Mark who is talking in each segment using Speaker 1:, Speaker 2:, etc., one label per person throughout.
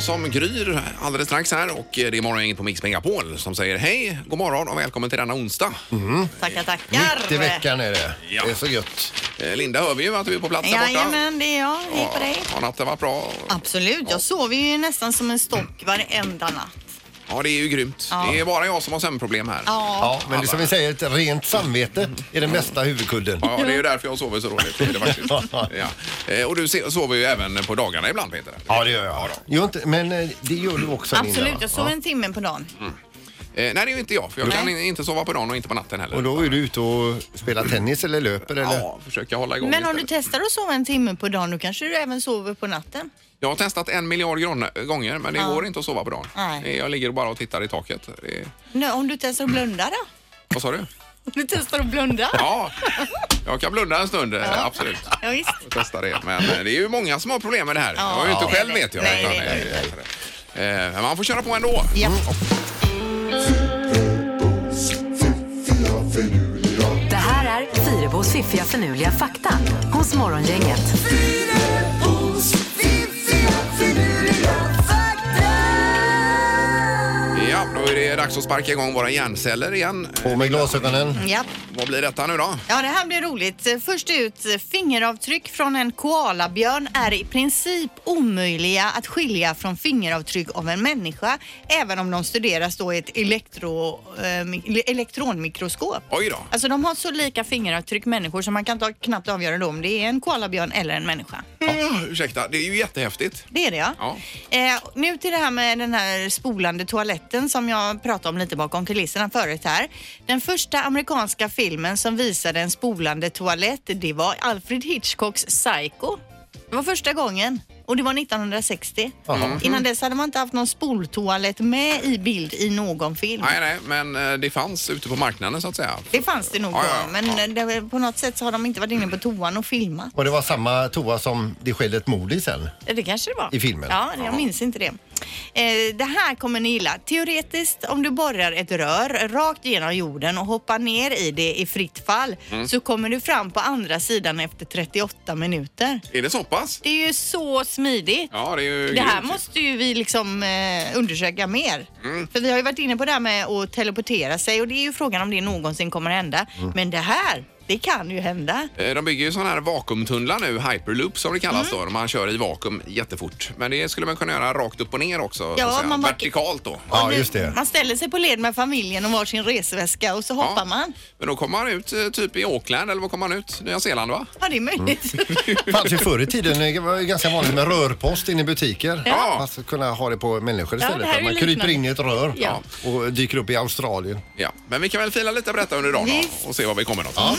Speaker 1: som gryr alldeles strax här och det är morgongänget på Mix Megapol som säger hej, god morgon och välkommen till denna onsdag.
Speaker 2: Mm.
Speaker 3: Tackar,
Speaker 2: Mitt i
Speaker 3: tackar.
Speaker 2: veckan är det.
Speaker 1: Ja.
Speaker 2: Det är så gött.
Speaker 1: Eh, Linda hör vi ju att du är på plats där borta.
Speaker 3: Jajamän, det är jag. Hej på dig.
Speaker 1: Ja, Har natten varit bra?
Speaker 3: Absolut, jag sover ju nästan som en stock varenda natt.
Speaker 1: Ja, det är ju grymt.
Speaker 3: Ja.
Speaker 1: Det är bara jag som har sömnproblem här.
Speaker 3: Ja,
Speaker 2: Ja, men det är som vi säger, ett rent samvete är den bästa huvudkudden.
Speaker 1: Ja, det är ju därför jag sover så dåligt. Det är det faktiskt. ja. Eh, Och du se- sover ju även på dagarna ibland Peter. Eh,
Speaker 2: Ja, det gör jag. Jo, inte, men eh, det gör du också
Speaker 3: absolut. Jag sover
Speaker 2: sover
Speaker 3: en timme på dagen.
Speaker 1: Eh, Nej, det är ju inte jag för jag kan in- inte sova på dagen och inte på natten heller.
Speaker 2: Och då är du ute och spelar tennis eller löper eller?
Speaker 1: Ja, försöka hålla igång
Speaker 3: Men om du
Speaker 1: istället.
Speaker 3: testar att sova en timme på dagen, då kanske du även sover på natten.
Speaker 1: Jag har testat en miljard gron- gånger men det går inte att sova på dagen. Eh,
Speaker 3: Nej.
Speaker 1: Jag ligger bara och tittar i taket. Det är...
Speaker 3: Nej, om du testar att blunda då?
Speaker 1: Vad sa du?
Speaker 3: Om du testar att blunda?
Speaker 1: Ja, jag kan blunda en stund, eh, absolut.
Speaker 3: Ja, visst.
Speaker 1: Jag testar det. Men eh, det är ju många som har problem med det här. Jag har ju
Speaker 3: Ja.
Speaker 1: inte själv vet jag.
Speaker 3: Nej, nej,
Speaker 1: utan, eh, eh, Men man får köra på ändå.
Speaker 3: Ja.
Speaker 4: Det här är Fyrabos fiffiga förnuliga fakta hos Morgongänget.
Speaker 1: Ja, då är det dags att sparka igång våra hjärnceller igen. Eh,
Speaker 2: På med glasögonen.
Speaker 3: Ja.
Speaker 1: Vad blir detta nu då?
Speaker 3: Ja, det här blir roligt. Först ut, fingeravtryck från en koalabjörn är i princip omöjliga att skilja från fingeravtryck av en människa, även om de studeras då i ett elektro, eh, mi- elektronmikroskop.
Speaker 1: Oj då.
Speaker 3: Alltså de har så lika fingeravtryck människor så man kan ta, knappt avgöra då om det är en koalabjörn eller en människa.
Speaker 1: Ja, Ah, ursäkta, det är ju jättehäftigt.
Speaker 3: Det är det ja.
Speaker 1: Ja.
Speaker 3: Eh, nu till det här med den här spolande toaletten som jag pratade om lite bakom kulisserna förut här. Den första amerikanska filmen som visade en spolande toalett det var Alfred Hitchcocks Psycho. Det var första gången och det var 1960.
Speaker 1: Mm.
Speaker 2: Jaha.
Speaker 3: Innan dess hade man inte haft någon spoltoalett med i bild i någon film.
Speaker 1: Nej, nej, men eh, det fanns ute på marknaden så att säga.
Speaker 3: Det fanns det nog
Speaker 1: Ja,
Speaker 3: då,
Speaker 1: ja,
Speaker 3: men Det, på något sätt så har de inte varit inne på toan och filmat.
Speaker 2: Och det var samma toa som det skedde ett mord i sen.
Speaker 3: Det kanske det var.
Speaker 2: I filmen?
Speaker 3: Ja, jag minns inte det. Eh, det här kommer ni gilla. Teoretiskt, om du borrar ett rör rakt genom jorden och hoppar ner i det i fritt fall så kommer du fram på andra sidan efter 38 minuter.
Speaker 1: Är det så pass?
Speaker 3: Det är ju så smidigt.
Speaker 1: Ja, det är ju
Speaker 3: Det här
Speaker 1: grymt.
Speaker 3: måste ju vi liksom eh, undersöka mer. För vi har ju varit inne på det här med att teleportera sig och det är ju frågan om det någonsin kommer hända. Men det här, det kan ju hända.
Speaker 1: Eh, De bygger ju sådana här vakuumtunnlar nu, hyperloop som det kallas
Speaker 3: Mm.
Speaker 1: då, då, man kör i vakuum jättefort. Men det skulle man kunna göra rakt upp och ner också, så
Speaker 3: Ja,
Speaker 1: att säga.
Speaker 3: man bara-
Speaker 1: vertikalt då.
Speaker 2: Ja, just det.
Speaker 3: Man ställer sig på led med familjen och var sin resväska och så hoppar man.
Speaker 1: Men då kommer man ut eh, typ i Auckland, eller var kommer man ut? Nya Zeeland va?
Speaker 3: Ja, det är möjligt.
Speaker 1: Mm.
Speaker 2: Fanns ju förr i tiden, det var ju ganska vanligt med rörpost inne i butiker.
Speaker 1: Ja.
Speaker 2: Fast kunna ha det på människor
Speaker 3: Ja,
Speaker 2: istället.
Speaker 3: det här är
Speaker 2: man
Speaker 3: ju
Speaker 2: kryper
Speaker 3: liknande.
Speaker 2: in i ett rör
Speaker 3: Ja.
Speaker 2: och dyker upp i Australien.
Speaker 1: Ja, men vi kan väl fila lite på detta under dagen
Speaker 3: Visst. Mm.
Speaker 1: då, och se var vi kommer någonstans.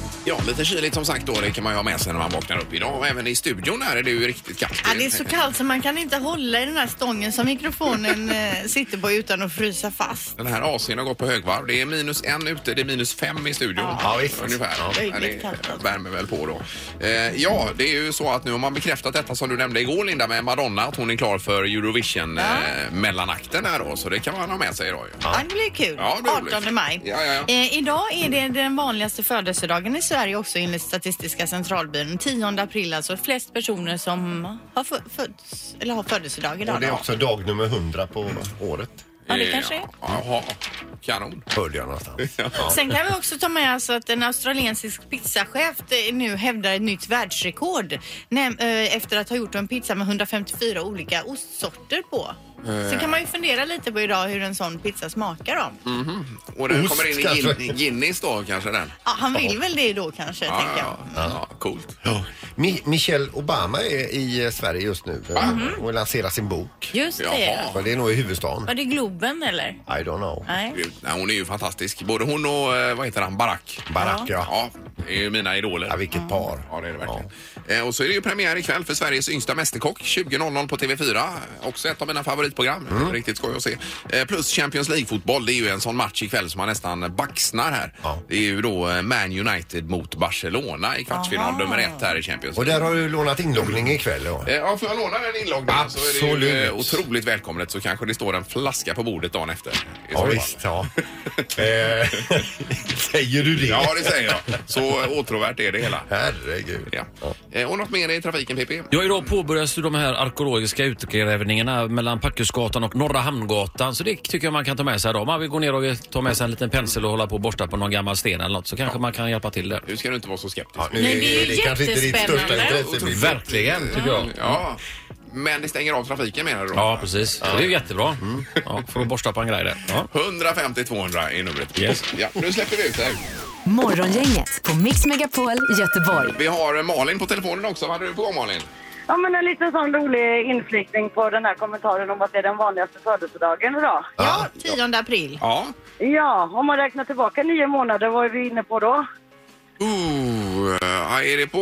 Speaker 1: Ja, lite kyligt som sagt då. Det kan man ju ha med sig när man vaknar upp idag. Och även i studion här är det ju riktigt kallt. Eh,
Speaker 3: Ja, det är så kallt så man kan inte hålla i den här stången som mikrofonen eh, sitter på utan att frysa fast.
Speaker 1: Den här AC'n har gått på högvarv. Det är minus en ute, det är minus fem i studion.
Speaker 2: Ja, visst.
Speaker 1: Ungefär.
Speaker 2: Ja.
Speaker 1: Ja,
Speaker 3: Riktigt kallt,
Speaker 1: det
Speaker 3: alltså.
Speaker 1: värmer väl på då. Eh, ja, det är ju så att nu har man bekräftat detta som du nämnde igår Linda med Madonna, att hon är klar för Eurovision-mellanakten här då. Så det kan man ha med sig idag ju.
Speaker 3: Ja, det blir kul.
Speaker 1: Ja, det blir roligt.
Speaker 3: 18 maj.
Speaker 1: Ja, ja, ja.
Speaker 3: Eh, idag är det den vanligaste födelsedagen i Sverige också enligt Statistiska centralbyrån. 10 april alltså. Flest personer som har fö- fötts eller har födelsedag
Speaker 2: Och
Speaker 3: idag.
Speaker 2: det är
Speaker 3: då.
Speaker 2: också dag nummer 100 på året.
Speaker 3: Ja, det kanske är.
Speaker 1: Jaha, Eh, kanon.
Speaker 2: Hörde jag någonstans.
Speaker 3: Sen kan vi också ta med oss att en australiensisk pizzachef eh, nu hävdar ett nytt världsrekord näm- eh, efter att ha gjort en pizza med 154 olika ostsorter på.
Speaker 1: Eh.
Speaker 3: Så kan man ju fundera lite på idag hur en sån pizza smakar då.
Speaker 1: Mm. Och den
Speaker 2: Ost,
Speaker 1: kommer in i
Speaker 2: kanske.
Speaker 1: Guin- Guinness då kanske den.
Speaker 3: Ja, han vill väl det då kanske, tänker
Speaker 1: ja,
Speaker 3: jag.
Speaker 1: ja, coolt.
Speaker 2: Ja. Mi- Michelle Obama är i eh, Sverige just nu eh, och lanserar sin bok.
Speaker 3: Just
Speaker 1: Jaha.
Speaker 2: Men det är nog i huvudstaden.
Speaker 3: Var det Globen eller?
Speaker 2: I don't know.
Speaker 3: Nej.
Speaker 1: Grymt. Nej, hon är ju fantastisk. Både hon och, eh, vad heter han, Barack.
Speaker 2: Barack, ja.
Speaker 1: Ja, det är ju mina idoler.
Speaker 2: ja. Vilket par.
Speaker 1: Ja, det är det verkligen. Eh, Och så är det ju premiär ikväll för Sveriges yngsta mästerkock 20.00 på TV4. Också ett av mina favoritprogram.
Speaker 2: Mm.
Speaker 1: Riktigt skoj att se. Eh, Plus Champions League-fotboll. Det är ju en sån match ikväll som man nästan baxnar här.
Speaker 2: Ja.
Speaker 1: Det är ju då eh, Man United mot Barcelona i kvartsfinal nummer ett här i Champions
Speaker 2: Och
Speaker 1: League.
Speaker 2: där har du lånat inloggning ikväll. Ja.
Speaker 1: Eh, Ja, får jag låna den inloggningen så är det ju
Speaker 2: Absolut.
Speaker 1: eh, otroligt välkommet så kanske det står en flaska på bordet dagen efter. i så
Speaker 2: Ja,
Speaker 1: fall.
Speaker 2: visst, ja. Eh, Säger du det?
Speaker 1: Ja, det säger jag. Så eh, åtråvärt är det hela.
Speaker 2: Herregud.
Speaker 1: Ja.
Speaker 2: Ja.
Speaker 1: Eh, Eh, Och något mer i trafiken, PP?
Speaker 5: Ja, idag påbörjas ju de här arkeologiska utgrävningarna mellan Packhusgatan och Norra Hamngatan. Så det tycker jag man kan ta med sig idag. Om man vill gå ner och ta med sig en liten pensel och hålla på och borsta på någon gammal sten eller något så kanske man kan hjälpa till där.
Speaker 1: Nu ska du inte vara så skeptisk.
Speaker 2: Ja, nu
Speaker 3: Men det är ju
Speaker 2: kanske inte ditt största
Speaker 3: jättespännande.
Speaker 2: intresse. men-
Speaker 5: Verkligen, tycker jag.
Speaker 1: Ja, men det stänger av trafiken menar du då?
Speaker 5: Ja, precis. Mm. Och Det är ju jättebra. Ja, för att borsta på en grej där. Ja.
Speaker 1: 150 200 är numret.
Speaker 5: Yes.
Speaker 1: Ja, nu släpper vi ut det. här.
Speaker 4: Morgongänget på Mix Megapol Göteborg.
Speaker 1: Vi har eh, Malin på telefonen också. Vad hade du på gång Malin?
Speaker 6: Ja, men en liten sån rolig inflyttning på den här kommentaren om att det är den vanligaste födelsedagen idag.
Speaker 3: Ja, 10 april.
Speaker 1: Ja.
Speaker 6: Ja, om man räknar tillbaka nio månader, vad är vi inne på då?
Speaker 1: Ooh, eh, är det på,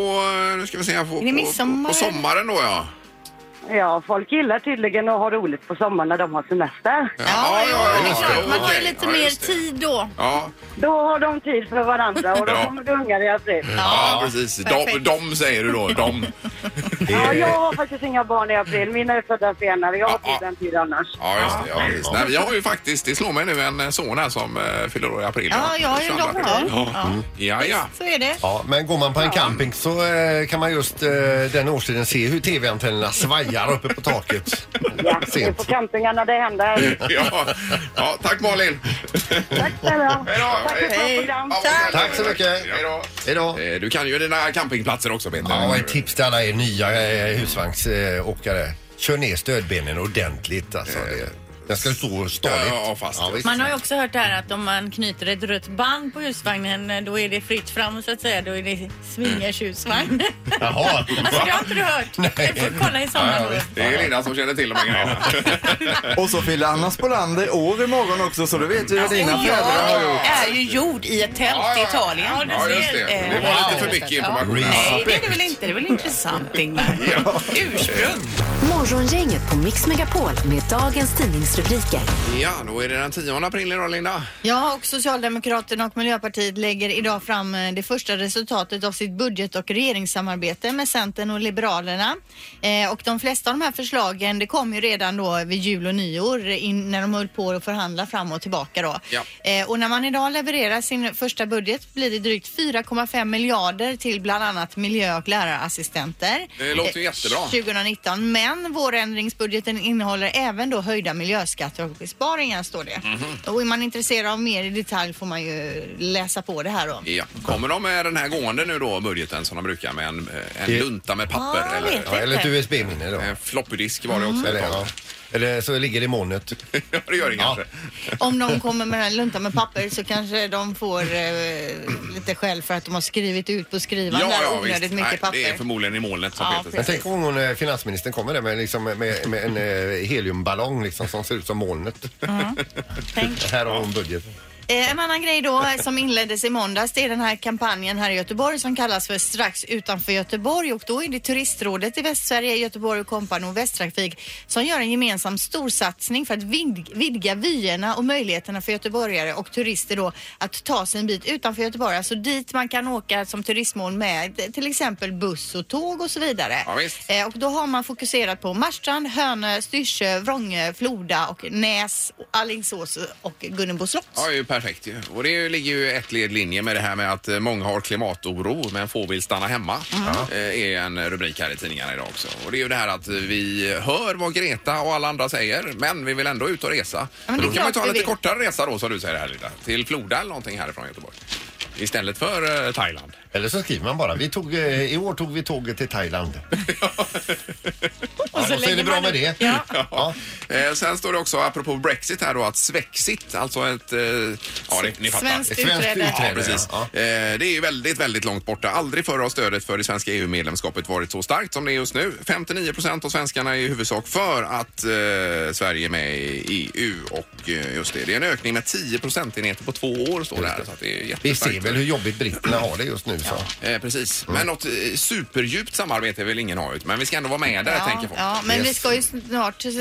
Speaker 1: eh, nu ska vi se, här, på,
Speaker 3: Är det
Speaker 1: på,
Speaker 3: midsommar?
Speaker 1: på sommaren då ja?
Speaker 6: Ja, folk gillar tydligen att ha roligt på sommaren när de har semester.
Speaker 3: Ja, ja, det är klart. Man har ju
Speaker 1: okej.
Speaker 3: lite
Speaker 1: Ja,
Speaker 3: mer
Speaker 1: just det.
Speaker 3: tid då.
Speaker 1: Ja,
Speaker 6: Då har de tid för varandra och då
Speaker 1: Ja.
Speaker 6: kommer det ungar i april.
Speaker 1: ja, precis. De,
Speaker 3: perfekt.
Speaker 1: de säger du då, de.
Speaker 6: Ja, jag har faktiskt inga barn i april. Mina är födda senare. Jag har
Speaker 1: Ja,
Speaker 6: tid en tid annars.
Speaker 1: Ja, just det. Ja, precis. Nej, jag har ju faktiskt, det slår mig nu, en son här som eh, fyller år i april.
Speaker 3: Ja, jag har ju
Speaker 1: 22 april.
Speaker 3: dotter.
Speaker 1: Ja. Mm. ja, ja.
Speaker 3: Så är det.
Speaker 2: Ja, men går man på en camping så eh, kan man just eh, den årstiden se hur tv-antennerna svajar uppe på taket.
Speaker 6: Ja, det är på
Speaker 2: Sent.
Speaker 6: campingarna det händer.
Speaker 1: Ja. ja, tack Malin.
Speaker 6: Tack snälla.
Speaker 1: Hej då.
Speaker 6: Tack för ett bra program.
Speaker 1: Ja,
Speaker 2: Tack så mycket.
Speaker 1: Hej då.
Speaker 2: Hej då.
Speaker 1: Eh, Du kan ju dina campingplatser också Peter.
Speaker 2: Ja, ett tips till alla er nya eh, husvagnsåkare. Kör ner stödbenen ordentligt alltså. Det, den ska stå stadigt.
Speaker 1: Eh, Ja, ja, fast.
Speaker 2: visst.
Speaker 7: Man har ju också hört här att om man knyter ett rött band på husvagnen eh, då är det fritt fram så att säga. Då är det swingers husvagn.
Speaker 2: Jaha.
Speaker 7: alltså det har inte du hört?
Speaker 2: Nej.
Speaker 7: Du får kolla i sommar då.
Speaker 1: Det är Linda som känner till de här grejerna.
Speaker 8: Och så fyller Anna Spolander år imorgon också så du vet ju hur dina föräldrar har gjort.
Speaker 9: Jag är ju gjord i ett tält i Italien.
Speaker 7: Ja, du
Speaker 1: Ja, just
Speaker 7: ser.
Speaker 1: det.
Speaker 7: Eh,
Speaker 1: Det var lite för mycket information.
Speaker 9: Nej, det är det väl inte. Det är väl intressant, Ingmar?
Speaker 1: Ja.
Speaker 9: Ursprung.
Speaker 4: Morgongänget på Mix Megapol med dagens tidningsrubriker.
Speaker 1: Ja, då är det den 10 april idag Linda.
Speaker 3: Ja, och Socialdemokraterna och Miljöpartiet lägger idag fram eh, det första resultatet av sitt budget och regeringssamarbete med Centern och Liberalerna. Eh, och de flesta av de här förslagen, det kom ju redan då vid jul och nyår in, när de höll på att förhandla fram och tillbaka då.
Speaker 1: Ja.
Speaker 3: Eh, och när man idag levererar sin första budget blir det drygt 4,5 miljarder till bland annat miljö och lärarassistenter.
Speaker 1: Det låter ju
Speaker 3: Eh,
Speaker 1: jättebra.
Speaker 3: 2019. Men vårändringsbudgeten innehåller även då höjda miljöskatter och besparingar står det.
Speaker 1: Mhm.
Speaker 3: Och är man intresserad av mer i detalj får man ju läsa på det här då.
Speaker 1: Ja. Kommer de med den här gående nu då, budgeten som de brukar med en, eh, en
Speaker 2: Det-
Speaker 1: lunta med papper?
Speaker 3: Ja, jag
Speaker 1: eller
Speaker 3: vet
Speaker 2: Ja, eller ett USB-minne då.
Speaker 1: en floppydisk var det också.
Speaker 7: Mm.
Speaker 2: Eller,
Speaker 1: ja.
Speaker 2: ja. eller så ligger det i molnet.
Speaker 1: det gör det
Speaker 2: Ja.
Speaker 1: kanske.
Speaker 3: Om de kommer med en lunta med papper så kanske de får eh, lite skäll för att de har skrivit ut på skrivaren där onödigt
Speaker 1: visst.
Speaker 3: mycket
Speaker 1: Nej, det är
Speaker 3: papper.
Speaker 1: förmodligen i molnet som
Speaker 3: Ja,
Speaker 1: Peter
Speaker 2: Men
Speaker 1: säger.
Speaker 2: tänk om hon, eh, finansministern kommer där med, liksom, med, med en eh, heliumballong liksom, som ser ut som molnet. Här har hon budget.
Speaker 3: Eh, En annan grej då som inleddes i måndags det är den här kampanjen här i Göteborg som kallas för Strax utanför Göteborg och då är det Turistrådet i Västsverige, Göteborg och Kompan och Västtrafik som gör en gemensam storsatsning för att vid- vidga vyerna och möjligheterna för göteborgare och turister då att ta sig en bit utanför Göteborg, alltså dit man kan åka som turistmål med eh, till exempel buss och tåg och så vidare.
Speaker 1: Ja, visst.
Speaker 3: Eh, Och då har man fokuserat på Marstrand, Hönö, Styrsö, Vrångö, Floda och Näs, Alingsås och Gunnebo slott.
Speaker 1: Ja, det är ju perfekt ju. Och det är ju- ligger ju ett led linje med det här med att eh, många har klimatoro men få vill stanna hemma.
Speaker 3: Mm.
Speaker 1: Eh, är en rubrik här i tidningarna idag också. Och det är ju det här att vi hör vad Greta och alla andra säger men vi vill ändå ut och resa.
Speaker 3: men
Speaker 1: men
Speaker 3: det
Speaker 1: då
Speaker 3: är
Speaker 1: kan man
Speaker 3: klart
Speaker 1: ta en
Speaker 3: vi
Speaker 1: lite
Speaker 3: vill.
Speaker 1: kortare resa då som du säger här Linda. Till Floda eller någonting härifrån Göteborg. Istället för eh, Thailand.
Speaker 2: Eller så skriver man bara, vi tog, eh, i år tog vi tåget till Thailand. Ja, och så är
Speaker 7: lägger
Speaker 2: det bra
Speaker 7: man
Speaker 2: med det.
Speaker 7: Ja.
Speaker 2: Ja.
Speaker 1: Eh, sen står det också apropå Brexit här då att Svexit, alltså ett... Eh, ja, ni, ni fattar.
Speaker 3: Svenskt
Speaker 2: Ett svenskt
Speaker 3: utträde.
Speaker 2: utträde.
Speaker 1: Ja, precis.
Speaker 2: Ja.
Speaker 1: Eh, Det är ju väldigt, väldigt långt borta. Aldrig förr har stödet för det svenska EU-medlemskapet varit så starkt som det är just nu. 59 procent av svenskarna är i huvudsak för att eh, Sverige är med i EU och eh, just det, det är en ökning med 10 procentenheter på två år står det här. Så att det är
Speaker 2: Vi ser
Speaker 1: jättestarkt.
Speaker 2: väl Mm. hur jobbigt britterna har det just nu. Så.
Speaker 1: Eh, precis, men något eh, superdjupt samarbete vill ingen ha ut. Men vi ska ändå vara med där, tänker folk.
Speaker 3: ja, men vi
Speaker 2: Yes.
Speaker 3: ska ju snart eh,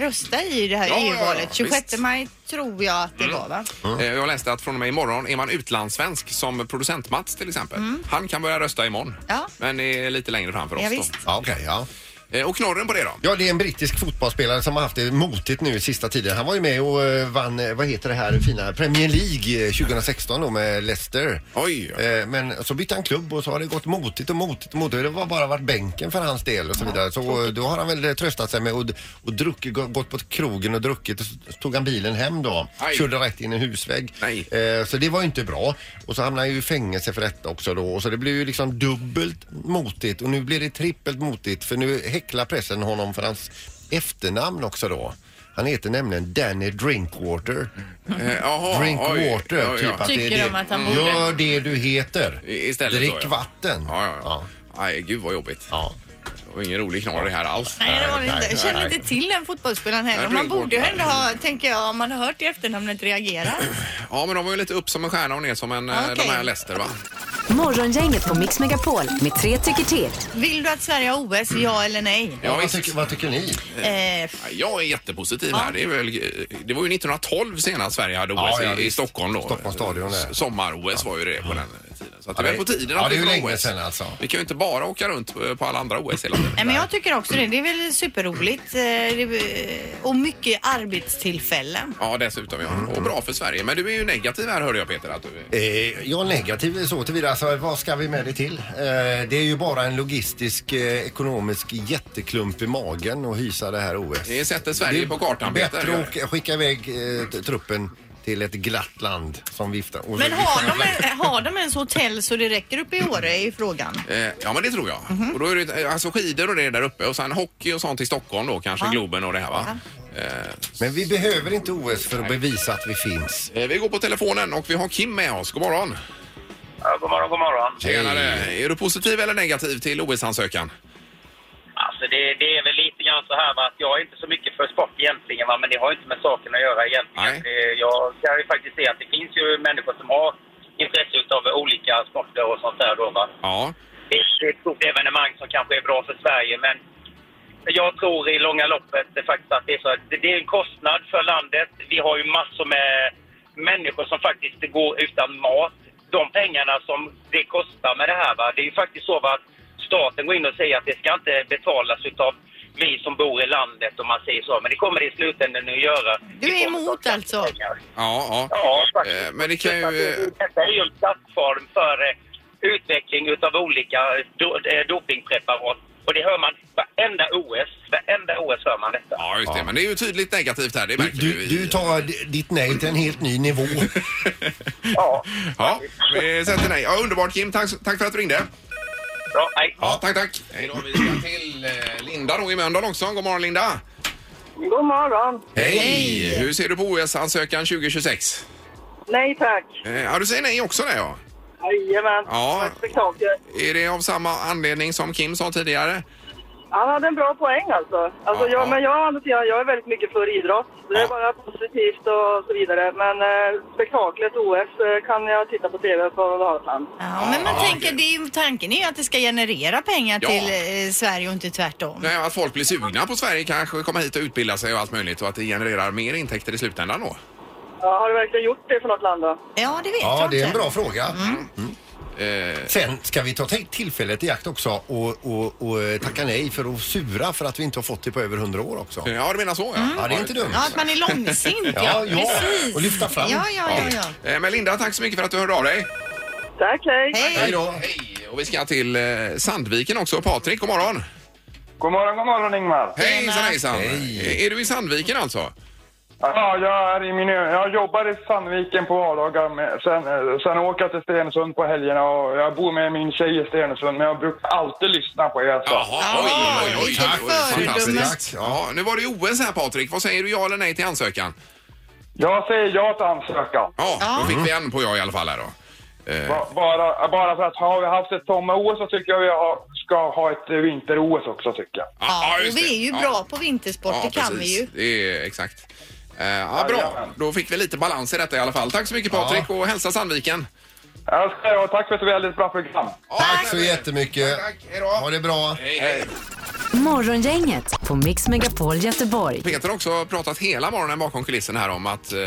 Speaker 3: rösta i det här
Speaker 1: Ja, ja, ja,
Speaker 3: EU-valet. 26
Speaker 1: visst.
Speaker 3: maj tror jag att det var va?
Speaker 2: Mm.
Speaker 1: Eh, Jag läste att från och med imorgon är man utlandssvensk som producent Mats till exempel. Han kan börja rösta imorgon.
Speaker 3: Mm. Ja.
Speaker 1: Men det är lite längre fram för oss
Speaker 3: Ja,
Speaker 1: då.
Speaker 3: visst.
Speaker 2: Ja, okej, ja.
Speaker 1: Eh, Och knorren på det då?
Speaker 2: Ja, det är en brittisk fotbollsspelare som har haft det motigt nu i sista tiden. Han var ju med och eh, vann, eh, vad heter det här fina, Premier League eh, 2016 då med Leicester.
Speaker 1: Oj.
Speaker 2: Eh, Men så bytte han klubb och så har det gått motigt och motigt och motigt. Det var bara varit bänken för hans del och så vidare. Så eh, då har han väl eh, tröstat sig med och, och druckit, gå- gått på krogen och druckit. Och så tog han bilen hem då.
Speaker 1: Aj.
Speaker 2: Körde rätt in i en husvägg.
Speaker 1: Nej.
Speaker 2: Eh, Så det var ju inte bra. Och så hamnade han ju i fängelse för detta också då. Och så det blev ju liksom dubbelt motigt och nu blir det trippelt motigt för nu häcklar pressen honom för hans efternamn också då. Han heter nämligen Danny Drinkwater.
Speaker 1: Eh, Jaha.
Speaker 2: Drink
Speaker 1: oj.
Speaker 2: water,
Speaker 1: Ja, ja.
Speaker 2: typ att
Speaker 7: Tycker
Speaker 2: det är
Speaker 7: de att han
Speaker 2: det.
Speaker 7: borde-
Speaker 2: Gör det du heter.
Speaker 1: I- istället
Speaker 2: Drick
Speaker 1: då, ja.
Speaker 2: vatten.
Speaker 1: Ja, ja, ja. Nej, gud vad jobbigt.
Speaker 2: Ja.
Speaker 1: Det var ingen rolig knorr det här alls.
Speaker 3: Nej, det var
Speaker 2: Nej,
Speaker 3: det inte.
Speaker 2: nej,
Speaker 3: Jag känner
Speaker 1: nej.
Speaker 3: inte till den fotbollsspelaren
Speaker 1: Nej,
Speaker 3: heller. Man
Speaker 1: Brygård.
Speaker 3: borde ju ändå ha, tänker jag, om man har hört i efternamnet reagera.
Speaker 1: Ja, men de var ju lite upp som en stjärna och ner som en, eh,
Speaker 3: Okej.
Speaker 1: de här Leicester va?
Speaker 4: Morgongänget på Mix Megapol med tre tycker till.
Speaker 3: Vill du att Sverige har OS, ja eller nej?
Speaker 1: Ja,
Speaker 2: vad,
Speaker 1: visst.
Speaker 2: tycker, vad tycker ni?
Speaker 3: Eh,
Speaker 1: Ja, Jag är jättepositiv här. Det, är väl, det var ju 1912 senast Sverige hade OS
Speaker 2: Ja, ja,
Speaker 1: i, i
Speaker 2: visst.
Speaker 1: Stockholm då.
Speaker 2: Stockholms stadion där.
Speaker 1: S- Sommar-OS var ju det på den tiden. Så att det är
Speaker 2: Ja,
Speaker 1: väl på tiden
Speaker 2: ja,
Speaker 1: att
Speaker 2: det är
Speaker 1: vi
Speaker 2: ju
Speaker 1: får
Speaker 2: länge
Speaker 1: OS.
Speaker 2: sedan alltså.
Speaker 1: Vi kan ju inte bara åka runt eh, på alla andra OS hela tiden.
Speaker 3: Nej, men jag tycker också det. Det är väl superroligt. Eh, det- eh, Och mycket arbetstillfällen.
Speaker 1: Ja, dessutom ja. Och bra för Sverige. Men du är ju negativ här hörde jag Peter. Att du...
Speaker 2: Eh, jag är negativ så tillvida. Alltså, vad ska vi med det till? Eh, det är ju bara en logistisk, eh, ekonomisk jätteklump i magen att hysa det här OS.
Speaker 1: Det sätter Sverige på kartan Peter.
Speaker 2: Bättre att åka- skicka iväg eh, t- truppen till ett glatt land som viftar. och-
Speaker 3: Men har de, har de ens hotell så det räcker upp i Åre i frågan?
Speaker 1: Eh, Ja men det tror jag. Och då är det eh, alltså skidor och det där uppe och sen hockey och sånt i Stockholm då kanske Globen och det här va. Eh,
Speaker 2: Men vi behöver inte OS för att bevisa att vi finns.
Speaker 1: eh, Vi går på telefonen och vi har Kim med oss. God morgon.
Speaker 10: Ja, god morgon, god morgon.
Speaker 1: Tjenare. Är du positiv eller negativ till OS-ansökan?
Speaker 10: Alltså det, det är väl lite grann så här va, att jag är inte så mycket för sport egentligen va, men det har ju inte med saken att göra egentligen.
Speaker 1: Nej.
Speaker 10: Det, jag kan ju faktiskt se att det finns ju människor som har intresse utav olika sporter och sånt där då va.
Speaker 1: Ja.
Speaker 10: Det, det är ett stort evenemang som kanske är bra för Sverige men jag tror i långa loppet eh, faktiskt att det är så att det, det är en kostnad för landet. Vi har ju massor med människor som faktiskt går utan mat. De pengarna som det kostar med det här va, det är ju faktiskt så va att staten går in och säger att det ska inte betalas utav vi som bor i landet om man säger så. Men det kommer det i slutändan att göra.
Speaker 3: Du är
Speaker 10: Det kommer
Speaker 3: emot
Speaker 10: kosta
Speaker 3: alltså?
Speaker 10: pengar.
Speaker 1: Ja, ja.
Speaker 10: Ja, faktiskt.
Speaker 1: Eh, Men det kan ju... eh,
Speaker 10: Detta är ju en plattform för eh, utveckling utav olika do, eh, dopingpreparat. Och det hör man varenda OS. Varenda OS hör man detta.
Speaker 1: Ja, just det. Men det är ju tydligt negativt här. Det
Speaker 2: Du,
Speaker 1: märker vi.
Speaker 2: du, du tar d- ditt nej till en helt ny nivå.
Speaker 10: Ja.
Speaker 1: Ja, vi sätter nej. Ja, underbart Kim. Tack, tack för att du ringde.
Speaker 10: Bra, hej.
Speaker 1: Ja, tack, tack. Hej då. Vi ska till eh, Linda då i Mölndal också. God morgon Linda.
Speaker 6: God morgon.
Speaker 1: Hej! Hur ser du på OS-ansökan 2026?
Speaker 6: Nej tack.
Speaker 1: Eh, Ja, du säger nej också där ja.
Speaker 6: Jajamän.
Speaker 1: Ja.
Speaker 6: Tack för kakan.
Speaker 1: Är det av samma anledning som Kim sa tidigare?
Speaker 6: Han hade en bra poäng alltså. alltså
Speaker 1: Ja,
Speaker 6: jag,
Speaker 1: ja.
Speaker 6: Men jag, å andra sidan, jag är väldigt mycket för idrott. Det är
Speaker 1: Ja.
Speaker 6: bara positivt och så vidare. Men eh, spektaklet OS eh, kan jag titta på TV på datan.
Speaker 3: Ja, men man
Speaker 1: Ja,
Speaker 3: tänker,
Speaker 1: okej.
Speaker 3: det är, ju- tanken är ju att det ska generera pengar
Speaker 1: Ja.
Speaker 3: till eh, Sverige och inte tvärtom.
Speaker 1: Nej, att folk blir sugna på Sverige kanske, komma hit och utbilda sig och allt möjligt och att det genererar mer intäkter i slutändan då.
Speaker 6: Ja, har du verkligen gjort det för något land då?
Speaker 3: Ja, det vet
Speaker 2: Ja,
Speaker 3: jag
Speaker 2: det är en
Speaker 3: inte.
Speaker 2: bra fråga.
Speaker 1: Mm.
Speaker 2: Mm.
Speaker 1: Eh,
Speaker 2: Sen ska vi ta till- tillfället i akt också och, och, och eh, tacka nej för att sura för att vi inte har fått det på över hundra år också.
Speaker 1: ja, du menar så ja.
Speaker 2: Ja, det är inte dumt.
Speaker 3: Mm. Ja, att man är långsint, ja.
Speaker 2: Ja, ja.
Speaker 3: Precis.
Speaker 2: Och lyfta fram.
Speaker 3: Ja, ja, ja. ja.
Speaker 1: Eh, Men Linda, tack så mycket för att du hörde av dig.
Speaker 6: Tack, hej!
Speaker 2: Hej
Speaker 3: Hej.
Speaker 2: då.
Speaker 1: Hej! Och vi ska till eh, Sandviken också. Patrik, god morgon!
Speaker 10: God morgon, god morgon Ingmar.
Speaker 1: Hejsan, hejsan! Hej. Är du i Sandviken alltså?
Speaker 10: Ja, jag är i min Jag jobbar i Sandviken på vardagar. Med, sen, eh, sen åker jag till Stenungsund på helgerna och jag bor med min tjej i Stenungsund. Men jag brukar alltid lyssna på er. Så.
Speaker 1: Jaha,
Speaker 3: Ja, vilken
Speaker 1: Fantastiskt.
Speaker 3: fördumme.
Speaker 1: Tack. Ja, nu var det ju OS här Patrik. Vad säger du, ja eller nej till ansökan?
Speaker 10: Jag säger ja till ansökan.
Speaker 1: Ja,
Speaker 3: Ja.
Speaker 1: då fick vi en på ja i alla fall här då.
Speaker 10: Ba- Bara, bara för att har vi haft ett sommar-OS så tycker jag vi har, ska ha ett eh, vinter-OS också tycker jag.
Speaker 3: Ja, och
Speaker 1: just det.
Speaker 3: vi är ju
Speaker 1: Ja.
Speaker 3: bra på vintersport, det kan vi
Speaker 1: precis.
Speaker 3: ju.
Speaker 1: Det är exakt. Eh, ja, bra,
Speaker 10: Jajamän.
Speaker 1: då fick vi lite balans i detta i alla fall. Tack så mycket Patrik och hälsa Sandviken.
Speaker 10: Jag ska, och tack för ett väldigt bra program.
Speaker 1: Ja,
Speaker 2: Tack så jättemycket.
Speaker 1: Tack, hej
Speaker 2: Ha
Speaker 1: då.
Speaker 2: det bra.
Speaker 1: Hej, hej.
Speaker 4: Morgongänget på Mix Megapol Göteborg.
Speaker 1: Peter har också pratat hela morgonen bakom kulisserna här om att eh,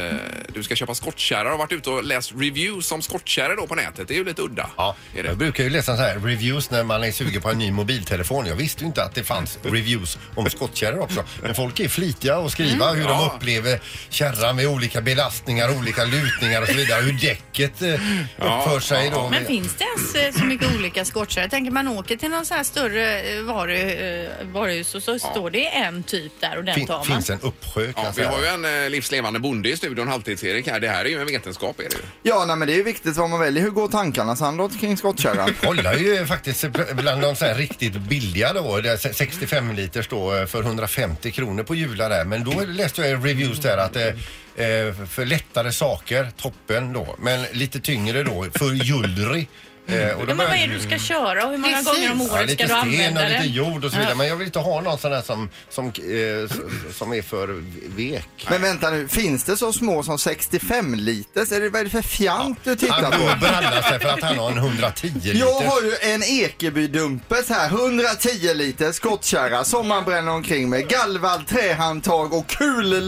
Speaker 1: du ska köpa skottkärror och varit ute och läst reviews om skottkärror då på nätet. Det är ju lite udda. Ja. Är det?
Speaker 2: Jag brukar ju läsa så här reviews när man är sugen på en ny mobiltelefon. Jag visste ju inte att det fanns reviews om skottkärror också. Men folk är flitiga att skriva
Speaker 1: Mm.
Speaker 2: hur
Speaker 1: Ja.
Speaker 2: de upplever kärran med olika belastningar, olika lutningar och så vidare. Hur däcket eh, uppför sig då.
Speaker 3: Men finns det ens eh, så mycket olika skottkärror? Jag tänker man åker till någon sån här större eh, varu, eh, varuhus och så står det en typ där och den
Speaker 2: Fin-
Speaker 3: tar man.
Speaker 2: finns en uppsjö kan
Speaker 1: Ja,
Speaker 2: jag
Speaker 1: vi
Speaker 2: säga.
Speaker 1: har ju en eh, livslevande bonde i studion, Halvtids-Erik här. Det här är ju en vetenskap är det ju.
Speaker 8: Ja, nej, men det är ju viktigt vad man väljer. Hur går tankarna Sandra kring skottkärran?
Speaker 2: Kolla ju faktiskt bland de så här riktigt billiga då, det är 65 liters då eh, för 150 kronor på Jula där. Men då läste jag i reviews där att eh, eh, för lättare saker, toppen då. Men lite tyngre då, för jullri. Eh, och
Speaker 3: Ja, men vad är det du
Speaker 1: Mm.
Speaker 3: ska köra och hur många
Speaker 11: Precis.
Speaker 3: gånger om
Speaker 2: Ja,
Speaker 3: året ska
Speaker 2: lite
Speaker 3: du
Speaker 2: sten
Speaker 3: använda
Speaker 2: och lite
Speaker 3: den?
Speaker 2: jord och så vidare.
Speaker 3: Ja.
Speaker 2: Men jag vill inte ha någon sån här som, som, eh, s- som är för vek.
Speaker 8: Men vänta nu, finns det så små som 65 liters? Är det, vad är det för fjant du
Speaker 2: Han
Speaker 8: tittar
Speaker 2: går och
Speaker 8: på?
Speaker 2: brallar sig för att han har en 110 liters.
Speaker 8: Jag har ju en Ekeby-dumpers här, 110 liters skottkärra som man bränner omkring med. Galvad, trähandtag och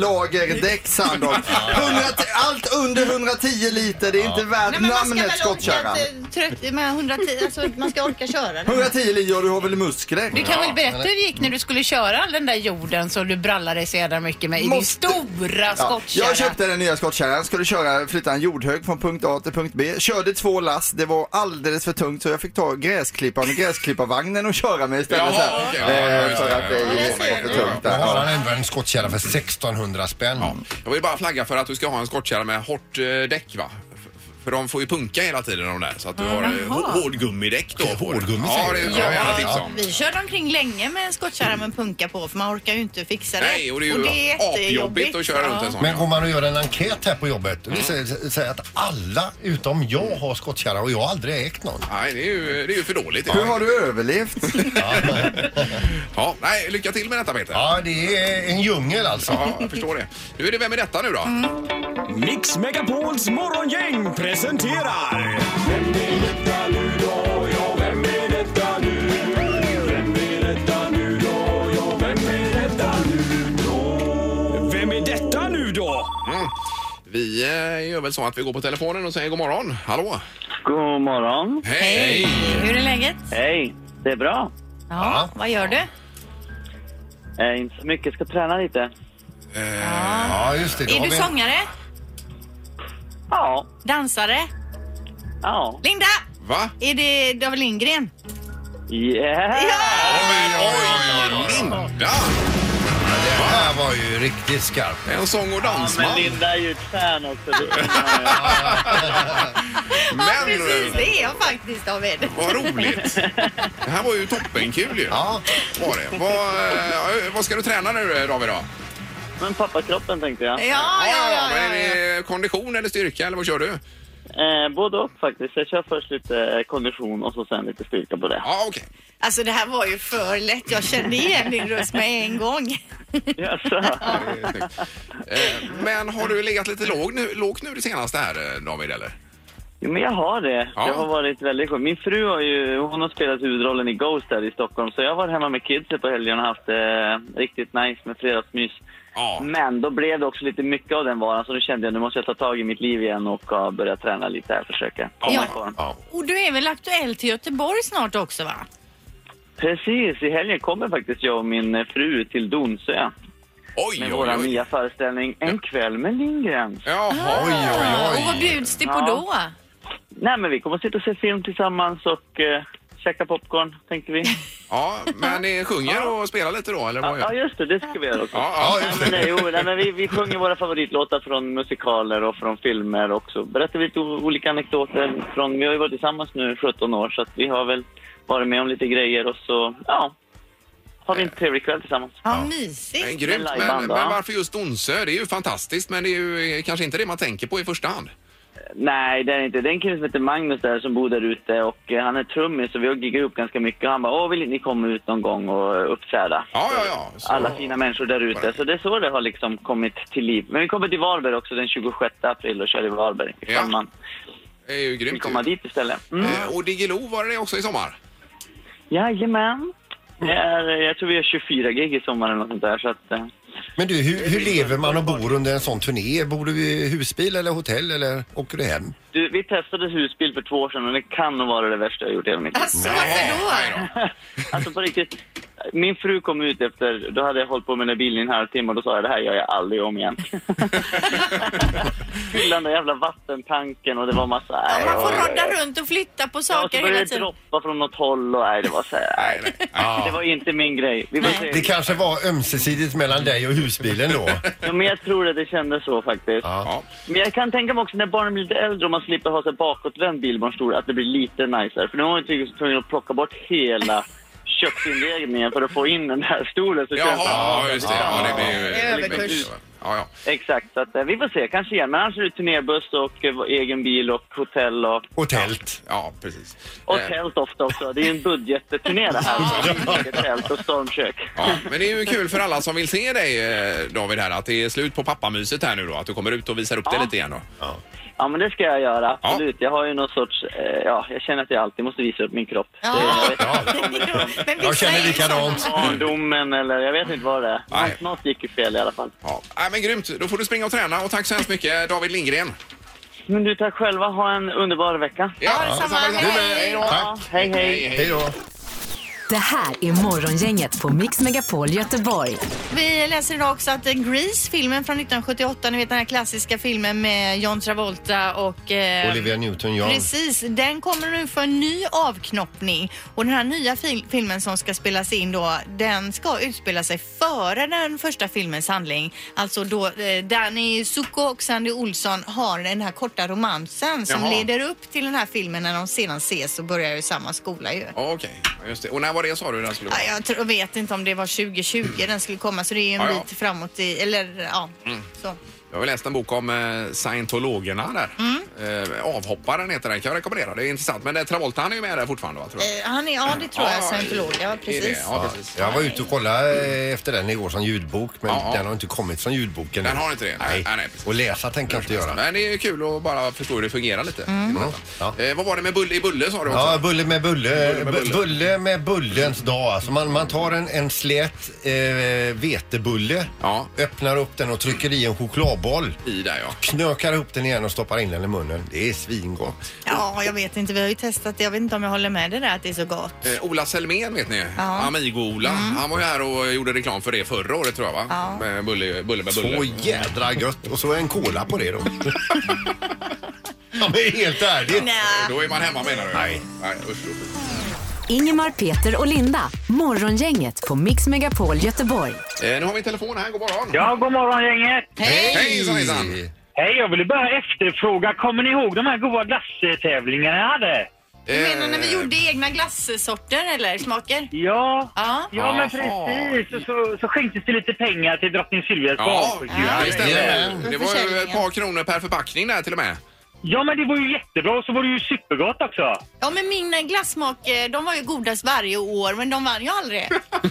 Speaker 8: kullagerdäck Sandholt. 110 Allt under 110 liter, det är inte värt
Speaker 11: Nej, men man ska
Speaker 8: namnet
Speaker 11: väl orka
Speaker 8: skottkärran.
Speaker 11: att, eh, trött- med 110, alltså man ska orka köra den.
Speaker 8: 110 liter, ja du har väl muskler?
Speaker 12: Du kan väl berätta hur det gick när du skulle köra all den där jorden som du brallade dig så jädra mycket med i din
Speaker 8: Måste-
Speaker 12: stora
Speaker 8: Ja,
Speaker 12: skottkärra?
Speaker 8: jag köpte den nya skottkärran, skulle köra, flytta en jordhög från punkt A till punkt B. Körde två lass, det var alldeles för tungt så jag fick ta gräsklipparen och gräsklipparvagnen och köra med istället.
Speaker 1: Jaha,
Speaker 8: så här,
Speaker 1: okej.
Speaker 8: eh,
Speaker 1: Ja, ja, ja,
Speaker 8: för
Speaker 1: ja,
Speaker 8: att
Speaker 1: ja,
Speaker 8: det
Speaker 1: ja,
Speaker 8: just
Speaker 1: ja,
Speaker 8: var för
Speaker 1: ja,
Speaker 8: tungt
Speaker 2: Då
Speaker 8: där.
Speaker 2: har
Speaker 8: Ja.
Speaker 2: han ändå en skottkärra för 1600 spänn.
Speaker 1: Jag vill bara flagga för att du ska ha en skottkärra med hårt eh, däck va? F- För de får ju punka hela tiden de där så att du har eh, hå- hårdgummidäck då. på det.
Speaker 2: Hårdgummi
Speaker 1: Ja,
Speaker 2: säger
Speaker 1: det
Speaker 2: du?
Speaker 1: kan jag gärna
Speaker 2: Ja.
Speaker 1: tipsa om.
Speaker 11: Vi körde omkring länge med en skottkärra med punka på för man orkar ju inte fixa det.
Speaker 1: Nej, och det är ju apjobbigt att köra runt en sån.
Speaker 2: Men
Speaker 1: ja.
Speaker 2: går man och gör en enkät här på jobbet och säger, säger att alla utom jag har skottkärra och jag har aldrig ägt någon.
Speaker 1: Nej, det är ju, det är ju för dåligt.
Speaker 8: Hur
Speaker 1: Ja.
Speaker 8: har du överlevt?
Speaker 1: Ja, nej, lycka till med detta Peter.
Speaker 2: Ja, det är en djungel alltså.
Speaker 1: Ja, jag förstår det. Nu är det Vem är detta nu då?
Speaker 13: Mix Megapols morgongäng presenterar... Vem är detta nu då? Ja, vem är detta nu? Vem är detta nu då? Ja, vem är detta nu då? Vem är detta nu då?
Speaker 1: Vi eh, gör väl så att vi går på telefonen och säger god morgon. Hallå?
Speaker 14: God morgon.
Speaker 1: Hej!
Speaker 3: Hur är läget?
Speaker 14: Hej. Det är bra.
Speaker 3: Ja, vad gör du?
Speaker 14: Eh, inte så mycket. Ska träna lite.
Speaker 1: Eh,
Speaker 2: Ja, just det. Då har
Speaker 3: Är du
Speaker 2: vi-
Speaker 3: sångare?
Speaker 14: Ja.
Speaker 3: Dansare?
Speaker 14: Ja.
Speaker 3: Linda!
Speaker 1: Va?
Speaker 11: Är det David Lindgren?
Speaker 14: Yeah!
Speaker 1: Oj, oj, oj, Linda!
Speaker 2: Det här var ju riktigt skarpt.
Speaker 1: En sång och
Speaker 14: Ja,
Speaker 1: dansman.
Speaker 14: men Linda är ju ett fan också. Det-
Speaker 11: Ja,
Speaker 1: Men, eh,
Speaker 11: precis. Det är jag faktiskt, David.
Speaker 1: Vad roligt! Det här var ju toppenkul ju.
Speaker 2: Ja.
Speaker 1: Var det. Vad, eh, vad ska du träna nu David då?
Speaker 14: Men pappakroppen tänkte jag.
Speaker 11: Ja, ja, ja.
Speaker 1: men
Speaker 11: ja, ja.
Speaker 1: Är det kondition eller styrka eller vad kör du?
Speaker 14: Eh, både och faktiskt. Jag kör först lite eh, kondition och så sen lite styrka på det.
Speaker 1: Ja, okej.
Speaker 11: Alltså, det här var ju för lätt. Jag kände igen din röst med en gång.
Speaker 14: Jaså?
Speaker 1: Det är snyggt. Eh, Men har du legat lite låg nu, lågt nu det senaste här eh, David eller?
Speaker 14: Jo, men jag har det.
Speaker 1: Ja.
Speaker 14: Jag har varit väldigt skön. Min fru har ju, hon har spelat huvudrollen i Ghost här i Stockholm så jag har varit hemma med kidsen på helgen och haft eh, riktigt nice med fredagsmys.
Speaker 1: Ja.
Speaker 14: Men då blev det också lite mycket av den varan så nu kände jag nu måste jag ta tag i mitt liv igen och ja, börja träna lite här försöka komma
Speaker 3: Ja.
Speaker 14: i form.
Speaker 2: Ja.
Speaker 3: Och du är väl aktuell till Göteborg snart också va?
Speaker 14: Precis, i helgen kommer faktiskt jag och min eh, fru till Donsö
Speaker 1: Oj,
Speaker 14: med
Speaker 1: oj,
Speaker 14: vår
Speaker 1: oj.
Speaker 14: nya föreställning En kväll med Lindgren.
Speaker 1: Jaha. Oj,
Speaker 3: Ja, och vad bjuds det på
Speaker 14: Ja.
Speaker 3: då?
Speaker 14: Nej men vi kommer sitta och se film tillsammans och eh, käka popcorn tänkte vi.
Speaker 1: Ja, men ni sjunger och spelar lite då eller vad
Speaker 14: Ja,
Speaker 1: gör
Speaker 14: ja just det, det ska vi göra också.
Speaker 1: Ja, ja,
Speaker 14: Nej, men, nej, jo, nej, men vi, vi sjunger våra favoritlåtar från musikaler och från filmer också. Berättar vi lite o- olika anekdoter från, vi har ju varit tillsammans nu 17 år så att vi har väl varit med om lite grejer och så, ja, har vi en trevlig kväll tillsammans.
Speaker 11: Ja,
Speaker 1: Men
Speaker 11: mysigt.
Speaker 1: grymt,
Speaker 14: Med
Speaker 1: men, men
Speaker 14: liveband, va?
Speaker 1: varför just Donsö? Det är ju fantastiskt men det är ju eh, kanske inte det man tänker på i första hand.
Speaker 14: Nej, det är det inte. Det är en kille som heter Magnus där som bor där ute och eh, han är trummis och vi har giggat upp ganska mycket och han bara, åh vill inte ni komma ut någon gång och eh, uppträda?
Speaker 1: Ja, ja, ja. Så-
Speaker 14: Alla fina människor där ute. Så det är så det har liksom kommit till liv. Men vi kommer till Varberg också den 26 april och kör i Varberg.
Speaker 1: Ja.
Speaker 14: Ifall man
Speaker 1: Det är ju
Speaker 14: vill
Speaker 1: grymt. ju.
Speaker 14: komma dit istället. Mm.
Speaker 1: Eh, Och Diggiloo var det också i sommar?
Speaker 14: Jajamän. Det är, eh, jag tror vi har 24 gig i sommar eller något sånt där. Så att, eh,
Speaker 2: Men du, hur, hur lever man och bor under en sån turné? Bor du i husbil eller hotell eller åker du hem?
Speaker 14: du, vi testade husbil för två år sedan och det kan nog vara det värsta jag har gjort i hela mitt liv.
Speaker 9: Alltså, varför då?
Speaker 14: Alltså på riktigt. Min fru kom ut efter, då hade jag hållit på med den här bilen i en halvtimme och då sa jag det här gör jag aldrig om igen. Fyllde den där jävla vattentanken och det var massa... nej,
Speaker 7: Man får
Speaker 14: oj, oj, oj.
Speaker 7: rodda runt och flytta på
Speaker 14: Ja, och så
Speaker 7: saker
Speaker 14: började
Speaker 7: hela
Speaker 14: det
Speaker 7: tiden.
Speaker 14: droppa från något håll och nej, det var så här, nej. Det var inte min grej. Vi var tre-
Speaker 2: Det kanske var ömsesidigt mellan dig och husbilen då?
Speaker 14: Ja, men jag tror att det kändes så faktiskt. Men jag kan tänka mig också när barnen blir lite äldre och man slipper ha så här bakåtvänd bilbarnstol att det blir lite nicer. För nu var jag tydligen typ tvungen att plocka bort hela köksinredningen för att få in den här stolen. Så
Speaker 1: Jaha, ja, just det. Ja, det blir ju- Det är överkurs.
Speaker 14: Exakt, så att, eh, vi får se. Kanske igen. Men annars är det turnébuss och eh, egen bil och hotell och...
Speaker 2: Och tält.
Speaker 1: Ja, precis.
Speaker 14: Och
Speaker 1: Eh.
Speaker 14: tält ofta också. Det är ju en budgetturné det här. Så det är mycket tält och stormkök.
Speaker 1: Ja, men det är ju kul för alla som vill se dig eh, David här att det är slut på pappamyset här nu då. Att du kommer ut och visar upp dig lite igen då.
Speaker 14: Ja, men det ska jag göra. Absolut. Jag har ju någon sorts... Eh, ja, jag känner att jag alltid måste visa upp typ, min kropp.
Speaker 1: Ja.
Speaker 14: Det- jag vet-
Speaker 1: Jag känner likadant.
Speaker 14: Barndomen eller jag vet inte vad det är. Något- Något gick ju fel i alla fall.
Speaker 1: Nej, Äh, men grymt. Då får du springa och träna och tack så hemskt mycket David Lindgren.
Speaker 14: Men du, tack själva. Ha en underbar vecka.
Speaker 1: Ja, detsamma.
Speaker 14: Hej.
Speaker 1: Hej då.
Speaker 14: Ja, hej, hej.
Speaker 1: Hej
Speaker 2: då.
Speaker 3: Ehm,
Speaker 4: Det här är Morgongänget på Mix Megapol Göteborg.
Speaker 3: Vi läser idag också att eh, Grease, filmen från 1978, ni vet den här klassiska filmen med John Travolta och... eh,
Speaker 2: Olivia Newton-John.
Speaker 3: Precis, den kommer nu för en ny avknoppning och den här nya fil- filmen som ska spelas in då, den ska utspela sig före den första filmens handling. Alltså då eh, Danny Zuko och Sandy Olsson har den här korta romansen som
Speaker 1: Jaha.
Speaker 3: leder upp till den här filmen när de sedan ses och börjar i samma skola ju.
Speaker 1: Ja, Okej, Ja, just det. Och när var det sa du den skulle
Speaker 3: Ja,
Speaker 1: vara?
Speaker 3: jag tror, vet inte om det var 2020 den skulle komma så det är ju en
Speaker 1: Ja, ja. Mm.
Speaker 3: bit framåt i, eller ja, så. Eh,
Speaker 1: Jag har läst en bok om eh, scientologerna där. Eh, avhopparen heter den, kan jag rekommendera. Det är intressant. Men eh, Travolta han är ju med där fortfarande va? Tror jag.
Speaker 3: Eh, han är, ja det tror
Speaker 1: Ja,
Speaker 3: jag, scientolog, ja precis.
Speaker 1: Ja, precis.
Speaker 2: Jag var ute och kollade eh, efter den igår som ljudbok men den har inte kommit från ljudboken.
Speaker 1: Den
Speaker 2: än.
Speaker 1: har inte det?
Speaker 2: Nej.
Speaker 1: nej, nej precis.
Speaker 2: Och läsa tänker jag inte göra.
Speaker 1: Men det är ju kul att bara förstå hur det fungerar lite.
Speaker 2: Mm.
Speaker 1: Eh, vad var det med bulle i bulle sa du också?
Speaker 2: Ja, bulle med bulle.
Speaker 1: Bulle med
Speaker 2: Bu-
Speaker 1: bulle.
Speaker 2: Bulle med bullens dag. Alltså man, man tar en, en slät eh, vetebulle, öppnar upp den och trycker i en chokladboll.
Speaker 1: I där ja.
Speaker 2: Knökar ihop den igen och stoppar in den i munnen. Det är svingott.
Speaker 3: Ja, jag vet inte. Vi har ju testat det. Jag vet inte om jag håller med det där att det är så gott.
Speaker 1: Eh, Ola Selmén vet ni,
Speaker 3: Ja. Mm.
Speaker 1: Amigo-Ola. Han var ju här och gjorde reklam för det förra året tror jag va? Med bulle, bulle med bulle.
Speaker 2: Så jädra gött. Och så en cola på det då. ja, men helt ärligt.
Speaker 1: Då är man hemma menar du? Nej. Nej usch, usch.
Speaker 4: Ingemar, Peter och Linda. Morgongänget på Mix Megapol Göteborg.
Speaker 1: Eh, nu har vi en telefon här, god morgon.
Speaker 15: Ja, god morgon gänget!
Speaker 1: Hej! Hejsan hejsan! Eh,
Speaker 15: Hej, jag ville bara efterfråga, kommer ni ihåg de här goda glasstävlingarna jag hade?
Speaker 1: Du
Speaker 3: menar när vi gjorde egna glassorter eller smaker?
Speaker 15: Ja.
Speaker 3: Ja,
Speaker 15: Ja, men precis. Och så, så skänktes det lite pengar till drottning Silvias
Speaker 1: Ja,
Speaker 15: barnsjukhus.
Speaker 1: det stämmer. Det var ju ett par kronor per förpackning där till och med.
Speaker 15: Ja, men det var ju jättebra och så var det ju supergott också.
Speaker 3: Ja, men mina glassmak, eh, de var ju godast varje år, men de vann ju aldrig.
Speaker 15: det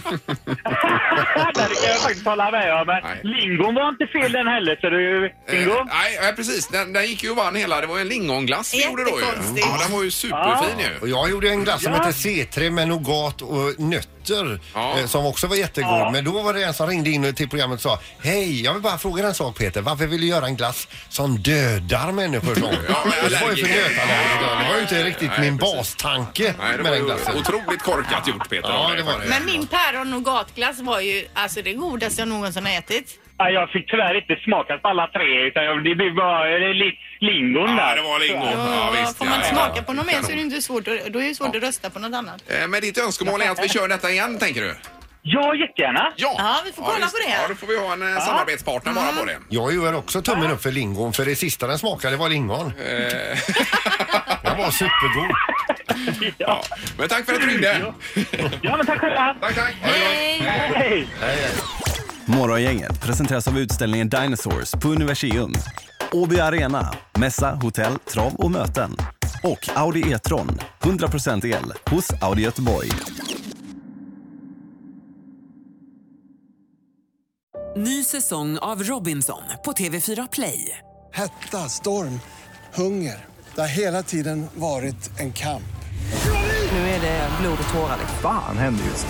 Speaker 15: kan jag faktiskt hålla med om. Men lingon var inte fel den heller, så du,
Speaker 1: Eh,
Speaker 15: Bingo.
Speaker 1: nej, nej, precis. Den, den gick ju och vann hela. Det var ju en lingonglass vi gjorde då ju.
Speaker 2: Jättekonstigt.
Speaker 1: Ja, den var ju superfin ju.
Speaker 2: Och jag gjorde en glass som
Speaker 1: Ja.
Speaker 2: hette C3 med nougat och nötter eh, som också var jättegod.
Speaker 1: Ja.
Speaker 2: Men då var det en som ringde in till programmet och sa Hej, jag vill bara fråga en sak Peter. Varför vill du göra en glass som dödar människor? Som?
Speaker 1: alltså,
Speaker 2: det var ju för nötallergiker. Det var ju inte riktigt min bastanke
Speaker 1: Nej,
Speaker 2: med
Speaker 1: det var
Speaker 2: den
Speaker 1: ju
Speaker 2: glassen.
Speaker 1: otroligt korkat gjort Peter.
Speaker 2: Ja,
Speaker 1: av dig,
Speaker 2: det var
Speaker 1: faktiskt.
Speaker 3: Men min päron nougatglass var ju alltså det godaste jag någonsin har ätit.
Speaker 15: Ja, jag fick tyvärr inte smaka på alla tre, utan jag, det blev bara eller, li, lingon där.
Speaker 1: Ja, det var lingon. Ja, visst.
Speaker 3: Får man inte smaka på något mer så är det inte svårt att, då är det svårt att rösta på något annat.
Speaker 1: Eh, Men ditt önskemål är att vi kör detta igen, tänker du?
Speaker 15: Ja, jättegärna.
Speaker 1: Ja,
Speaker 3: Ja, vi får kolla
Speaker 1: visst.
Speaker 3: på det.
Speaker 1: Ja, då får vi ha en eh, samarbetspartner bara på det.
Speaker 2: Jag gör också tummen upp för lingon för det sista den smakade var lingon.
Speaker 1: Eh.
Speaker 2: den var supergod.
Speaker 1: Ja. Men tack för att du ringde.
Speaker 15: Ja, men tack själva.
Speaker 1: Tack, tack.
Speaker 15: Hej.
Speaker 11: Morgongänget presenteras av utställningen Dinosaurs på Universium. Åby Arena, mässa, hotell, trav och möten. Och Audi E-tron, 100% el, hos Audi Göteborg.
Speaker 16: Ny säsong av Robinson på TV4 Play.
Speaker 17: Hetta, storm, hunger. Det har hela tiden varit en kamp.
Speaker 16: Nu är det blod och tårar. liksom.
Speaker 18: Fan händer just det.